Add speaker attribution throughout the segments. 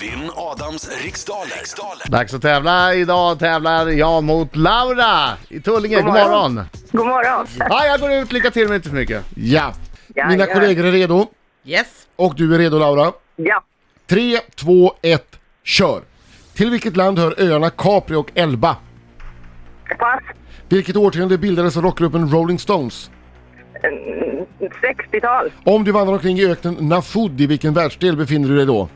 Speaker 1: Vinn Adams riksdaler. riksdaler.
Speaker 2: Dags att tävla. Idag tävlar jag mot Laura i Tullinge. God
Speaker 3: God
Speaker 2: morgon!
Speaker 3: morgon. God morgon.
Speaker 2: Ja, jag går ut. Lycka till men inte för mycket.
Speaker 4: Ja.
Speaker 3: Ja,
Speaker 4: Mina
Speaker 3: ja.
Speaker 4: kollegor är redo.
Speaker 5: Yes.
Speaker 4: Och du är redo Laura.
Speaker 3: Ja.
Speaker 4: 3, 2, 1, kör! Till vilket land hör öarna Capri och Elba?
Speaker 3: Pass.
Speaker 4: Vilket årtionde bildades rockgruppen Rolling Stones?
Speaker 3: Mm, 60-tal.
Speaker 4: Om du vandrar omkring i öknen Nafud, i vilken världsdel befinner du dig då?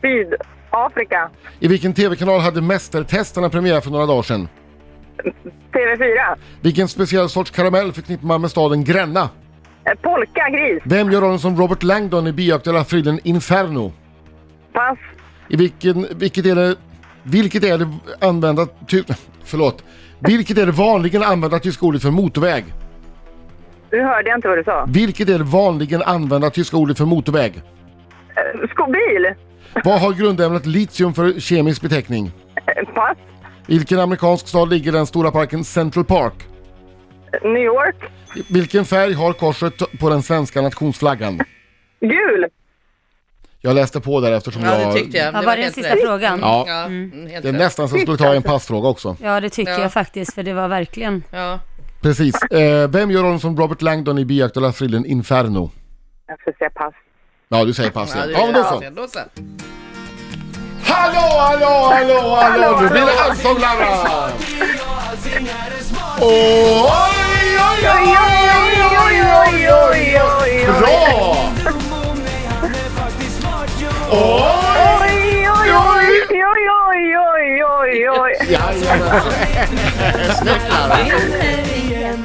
Speaker 3: Sydafrika.
Speaker 4: I vilken TV-kanal hade Mästertesterna premiär för några dagar sedan?
Speaker 3: TV4.
Speaker 4: Vilken speciell sorts karamell förknippar man med staden Gränna?
Speaker 3: Eh, Polka, gris.
Speaker 4: Vem gör rollen som Robert Langdon i bioaktuella thrillern Inferno?
Speaker 3: Pass.
Speaker 4: I vilken, vilket är det, vilket är det använda, ty, förlåt, vilket är det vanligen använda tyska ordet för motorväg?
Speaker 3: Nu hörde jag inte vad du sa.
Speaker 4: Vilket är det vanligen använda tyska ordet för motorväg?
Speaker 3: Eh, Skobil.
Speaker 4: Vad har grundämnet litium för kemisk beteckning?
Speaker 3: Eh, Pass.
Speaker 4: I vilken amerikansk stad ligger den stora parken Central Park?
Speaker 3: Eh, New York.
Speaker 4: I Vilken färg har korset på den svenska nationsflaggan?
Speaker 3: Gul.
Speaker 4: Jag läste på där eftersom
Speaker 5: Ja,
Speaker 4: jag...
Speaker 5: det tyckte jag.
Speaker 6: Ja, var det den
Speaker 5: helt
Speaker 6: sista
Speaker 5: rätt.
Speaker 6: frågan?
Speaker 4: Ja.
Speaker 5: Ja, mm, helt
Speaker 4: Det är
Speaker 5: rätt.
Speaker 4: nästan så jag skulle ta en passfråga också.
Speaker 6: Ja, det tycker
Speaker 5: Ja.
Speaker 6: jag faktiskt, för det var verkligen...
Speaker 5: Ja.
Speaker 4: Precis. Eh, vem gör rollen som Robert Langdon i bioaktuella thrillern Inferno?
Speaker 3: Jag ska säga pass.
Speaker 4: Ja, du säger pass.
Speaker 5: Ja,
Speaker 4: Ja,
Speaker 5: det är
Speaker 4: ja men då så.
Speaker 5: rätt. Då så.
Speaker 4: Hallå, hallå, hallå, hallå! Nu blir det allsång, Laura! Oj, oj, oj, oj, oj, oj, oj, oj! Bra! Oj!
Speaker 3: Oj, oj, oj, oj, oj, oj, oj, oj.
Speaker 4: Jajamän.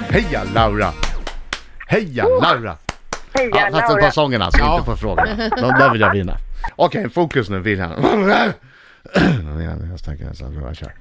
Speaker 2: Heja Laura! Heja Laura!
Speaker 3: Heja,
Speaker 2: Ja, fast den på
Speaker 3: Laura.
Speaker 2: sången alltså, inte på frågan. De där vill jag vinna. Okej, fokus nu. Viljan. Jag tänker nästan att jag kör.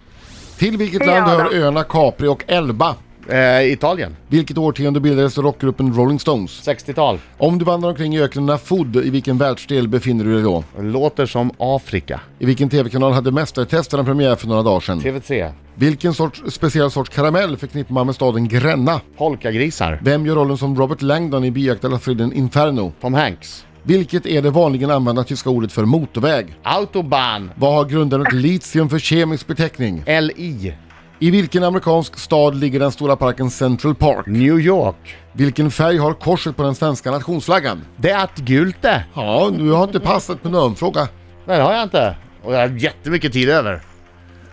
Speaker 4: Till vilket land
Speaker 3: Ja,
Speaker 4: hör
Speaker 3: då.
Speaker 4: öarna Capri och Elba?
Speaker 2: Eh, Italien,
Speaker 4: Vilket årtionde bildades rockgruppen Rolling Stones?
Speaker 2: 60-tal.
Speaker 4: Om du vandrar omkring i öknen Nafud, i vilken världsdel befinner du dig då?
Speaker 2: Låter som Afrika.
Speaker 4: I vilken TV-kanal hade Mästertesterna premiär för några dagar sedan?
Speaker 2: TV3.
Speaker 4: Vilken sorts, speciell sorts karamell förknippar man med staden Gränna?
Speaker 2: Polkagrisar.
Speaker 4: Vem gör rollen som Robert Langdon i bioaktuella thrillern Inferno?
Speaker 2: Tom Hanks.
Speaker 4: Vilket är det vanligen använda tyska ordet för motorväg?
Speaker 2: Autobahn.
Speaker 4: Vad har grundämnet litium för kemisk beteckning?
Speaker 2: LI.
Speaker 4: I vilken amerikansk stad ligger den stora parken Central Park?
Speaker 2: New York.
Speaker 4: Vilken färg har korset på den svenska nationsflaggan?
Speaker 2: Det är att gult det.
Speaker 4: Ja, nu har inte passat på någon fråga.
Speaker 2: Nej, det har jag inte. Och jag har jättemycket tid över.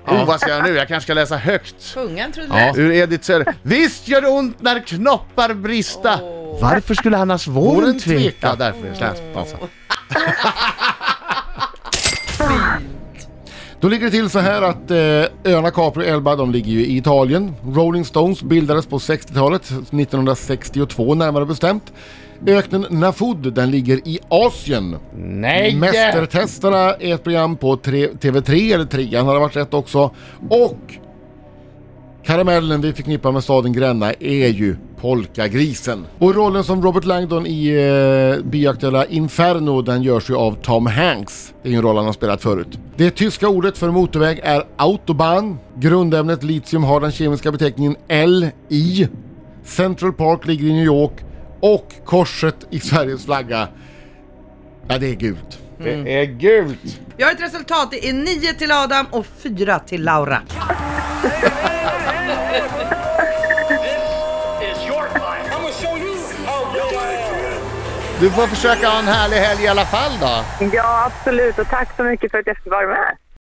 Speaker 2: Oh, vad ska jag nu? Jag kanske ska läsa högt.
Speaker 5: Tungan trodde
Speaker 4: Ja.
Speaker 5: jag.
Speaker 2: Ur Edith Söder. Visst gör det ont när knoppar brista. Varför skulle annars våren
Speaker 4: Våren tveka?
Speaker 2: tveka? Ja, därför är det alltså. slätt. Passa.
Speaker 4: Då ligger det till så här att eh, öarna Capri och Elba de ligger ju i Italien. Rolling Stones bildades på 60-talet, 1962 närmare bestämt. Öknen Nafud den ligger i Asien.
Speaker 2: Nej!
Speaker 4: Mästertesterna är ett program på tre, TV3, eller Trean har det varit rätt också. Och karamellen vi förknippar med staden Gränna är ju Polkagrisen. Och rollen som Robert Langdon i eh, bioaktuella Inferno den görs ju av Tom Hanks. Det är ju en roll han har spelat förut. Det tyska ordet för motorväg är Autobahn. Grundämnet litium har den kemiska beteckningen LI. Central Park ligger i New York och korset i Sveriges flagga, ja det är gult.
Speaker 2: Det är gult!
Speaker 5: Jag har ett resultat. Det är 9 till Adam och 4 till Laura.
Speaker 2: Du får försöka ha en härlig helg i alla fall då.
Speaker 3: Ja, absolut. Och tack så mycket för att jag fick vara med.